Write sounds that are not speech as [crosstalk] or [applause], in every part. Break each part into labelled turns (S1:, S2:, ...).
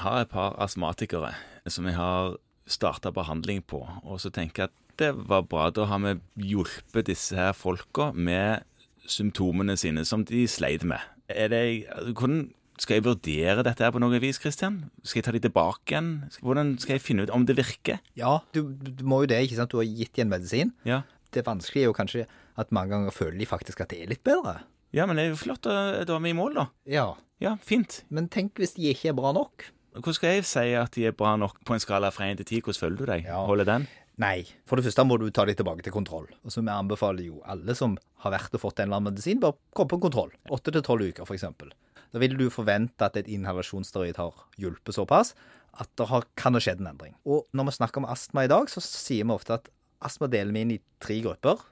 S1: har et par astmatikere som jeg har starta behandling på, og så tenker jeg at det var bra. Da har vi hjulpet disse her folka med symptomene sine som de sleit med. Er det, hvordan skal jeg vurdere dette her på noe vis, Christian? Skal jeg ta de tilbake igjen? Hvordan skal jeg finne ut om det virker?
S2: Ja, du, du må jo det, ikke sant. Du har gitt dem en medisin.
S1: Ja,
S2: Det vanskelige er jo kanskje at mange ganger føler de faktisk at det er litt bedre.
S1: ja men det er jo flott. Da da er vi i mål, da.
S2: Ja.
S1: Ja, fint.
S2: Men tenk hvis de ikke er bra nok.
S1: Hvordan skal jeg si at de er bra nok på en skala fra 1 til 10? Hvordan føler du deg?
S2: Ja.
S1: Holder den?
S2: Nei. For det første må du ta dem tilbake til kontroll. Og som jeg anbefaler jo alle som har vært og fått en eller annen medisin, bør komme på en kontroll. Åtte til tolv uker, f.eks. Da vil du forvente at et inhalasjonsteroid har hjulpet såpass at det har, kan ha skjedd en endring. Og når vi snakker om astma i dag, så sier vi ofte at astma deler vi inn i tre grupper.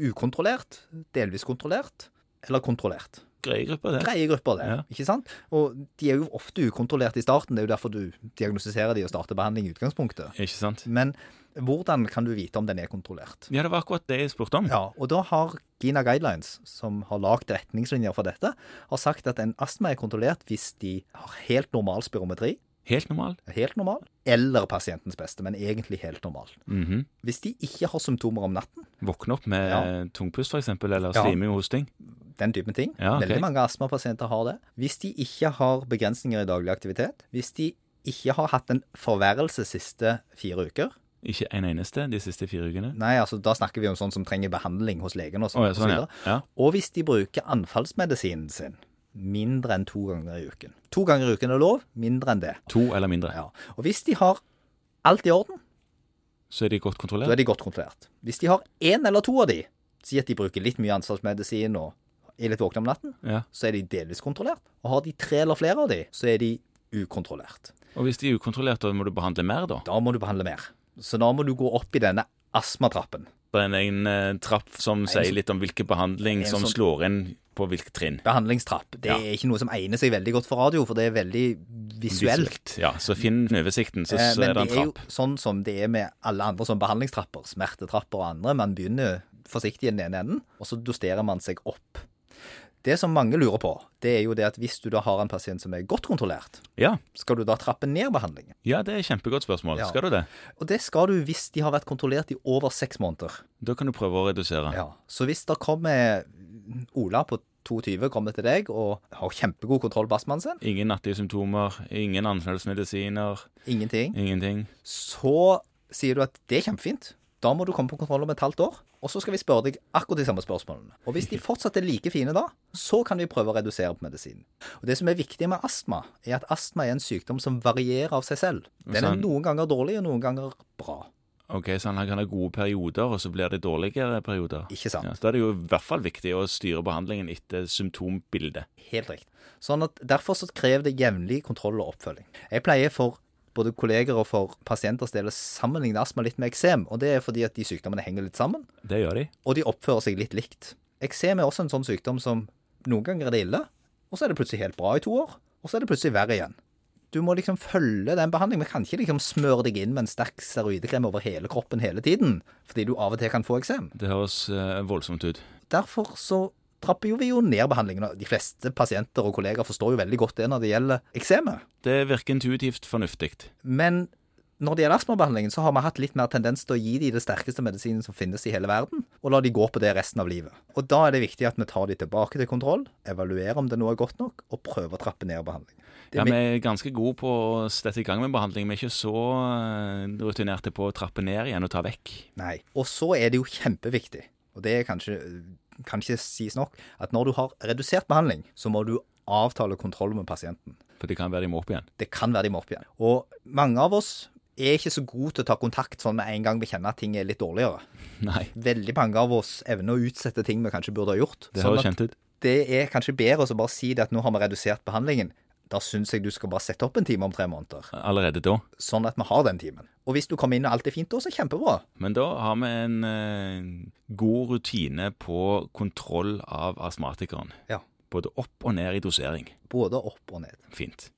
S2: Ukontrollert, delvis kontrollert eller kontrollert.
S1: Grei gruppe, det.
S2: Greie grupper, det.
S1: Ja.
S2: Ikke sant? Og de er jo ofte ukontrollert i starten. Det er jo derfor du diagnostiserer de og starter behandling i utgangspunktet.
S1: Ikke sant?
S2: Men hvordan kan du vite om den er kontrollert?
S1: Ja, det var akkurat det jeg spurte om.
S2: Ja, og da har Gina Guidelines, som har lagd retningslinjer for dette, har sagt at en astma er kontrollert hvis de har helt normal spirometri,
S1: Helt normal.
S2: helt normal, eller pasientens beste, men egentlig helt normal.
S1: Mhm.
S2: Hvis de ikke har symptomer om natten,
S1: Våkne opp med
S2: Ja.
S1: eh, tungpust, f.eks., eller
S2: Ja.
S1: sliming og hosting.
S2: den typen ting,
S1: Ja, ok.
S2: veldig mange astmapasienter har det, hvis de ikke har begrensninger i daglig aktivitet, hvis de ikke har hatt en forværelse siste fire uker,
S1: Ikke en eneste de siste fire ukene.
S2: nei, altså da snakker vi om sånn som trenger behandling hos legen og
S1: Å
S2: sånn,
S1: ja, sånn,
S2: og så
S1: ja.
S2: videre.
S1: ja.
S2: Og hvis de bruker anfallsmedisinen sin mindre enn to ganger i uken. To ganger i uken er lov, mindre enn det.
S1: To eller mindre.
S2: Ja. Og hvis de har alt i orden,
S1: Så er de godt
S2: da
S1: kontrollert.
S2: er de godt kontrollert. Hvis de har én eller to av de, si at de bruker litt mye anfallsmedisin og er litt våkne om natten,
S1: Ja.
S2: så er de delvis kontrollert. Og har de tre eller flere av de, så er de ukontrollert.
S1: Og hvis de er ukontrollerte, da må du behandle mer, da?
S2: Da må du behandle mer. Så da må du gå opp i denne astmatrappen.
S1: Det er en egen eh, trapp som sier litt om hvilken behandling
S2: en
S1: som
S2: sånn-
S1: slår inn på hvilket trinn.
S2: Behandlingstrapp. Det
S1: Ja.
S2: er ikke noe som egner seg veldig godt for radio, for det er veldig visuelt.
S1: Ja, så finn oversikten, så,
S2: Eh,
S1: så er det en
S2: Men
S1: trapp.
S2: det er jo sånn som det er med alle andre sånn behandlingstrapper, smertetrapper og andre. Man begynner forsiktig i den ene enden, og så dosterer man seg opp. Det som mange lurer på, det er jo det at hvis du da har en pasient som er godt kontrollert,
S1: Ja.
S2: skal du da trappe ned behandlingen?
S1: ja, det er et kjempegodt spørsmål.
S2: Ja.
S1: Skal du det?
S2: Og det skal du hvis de har vært kontrollert i over seks måneder.
S1: Da kan du prøve å redusere.
S2: Ja. Så hvis det kommer Ola på 22 kommer til deg og har kjempegod kontroll på astmaen sin,
S1: Ingen nattlige symptomer, ingen anfallsmedisiner,
S2: ingenting,
S1: ingenting.
S2: så sier du at det er kjempefint. Da må du komme på kontroll om et halvt år, og så skal vi spørre deg akkurat de samme spørsmålene. Og hvis de fortsatt er like fine da, så kan vi prøve å redusere på medisinen. Og Det som er viktig med astma, er at astma er en sykdom som varierer av seg selv. Den er
S1: Sant.
S2: noen ganger dårlig, og noen ganger bra.
S1: Ok, Så han kan ha gode perioder, og så blir det dårligere perioder.
S2: Ikke sant?
S1: Ja, så Da er det jo i hvert fall viktig å styre behandlingen etter symptombildet.
S2: Helt riktig. Sånn at Derfor så krever det jevnlig kontroll og oppfølging. Jeg pleier for både kolleger og for pasienters del å sammenligne astma litt med eksem. og Det er fordi at de sykdommene henger litt sammen.
S1: Det gjør de.
S2: og de oppfører seg litt likt. Eksem er også en sånn sykdom som noen ganger er det ille, og så er det plutselig helt bra i to år, og så er det plutselig verre igjen. Du må liksom følge den behandlingen. Vi kan ikke liksom smøre deg inn med en sterk steroidekrem over hele kroppen hele tiden, fordi du av og til kan få eksem.
S1: Det høres eh, voldsomt ut.
S2: Derfor så trapper jo vi jo ned behandlingen. og De fleste pasienter og kolleger forstår jo veldig godt det når det gjelder eksemet.
S1: Det virker intuitivt fornuftig.
S2: Men når det gjelder astmabehandlingen, så har vi hatt litt mer tendens til å gi de det sterkeste medisinen som finnes i hele verden, og la de gå på det resten av livet. Og da er det viktig at vi tar de tilbake til kontroll, evaluerer om det nå er godt nok, og prøver å trappe ned behandlingen. Det
S1: Ja,
S2: er
S1: Vi
S2: mi-
S1: er ganske gode på å sette i gang med behandling. Vi er ikke så eh, rutinerte på å trappe ned igjen og ta vekk.
S2: Nei. Og så er det jo kjempeviktig, og det er kanskje, kan ikke sies nok, at når du har redusert behandling, så må du avtale kontroll med pasienten.
S1: For det kan være de må opp igjen. [laughs]
S2: Det kan være de må opp igjen. Og mange av oss er ikke så gode til å ta kontakt sånn med en gang vi kjenner at ting er litt dårligere.
S1: Nei,
S2: Veldig mange av oss evner å utsette ting vi kanskje burde ha gjort.
S1: det
S2: Sånn
S1: høres
S2: at
S1: kjent ut.
S2: det er kanskje bedre å bare si det at nå har vi redusert behandlingen. Da syns jeg du skal bare sette opp en time om tre måneder,
S1: Allerede da.
S2: sånn at vi har den timen. Og hvis du kommer inn og alt er fint da, så kjempebra.
S1: Men da har vi en eh, god rutine på kontroll av astmatikeren.
S2: Ja.
S1: Både opp og ned i dosering.
S2: Både opp og ned.
S1: Fint.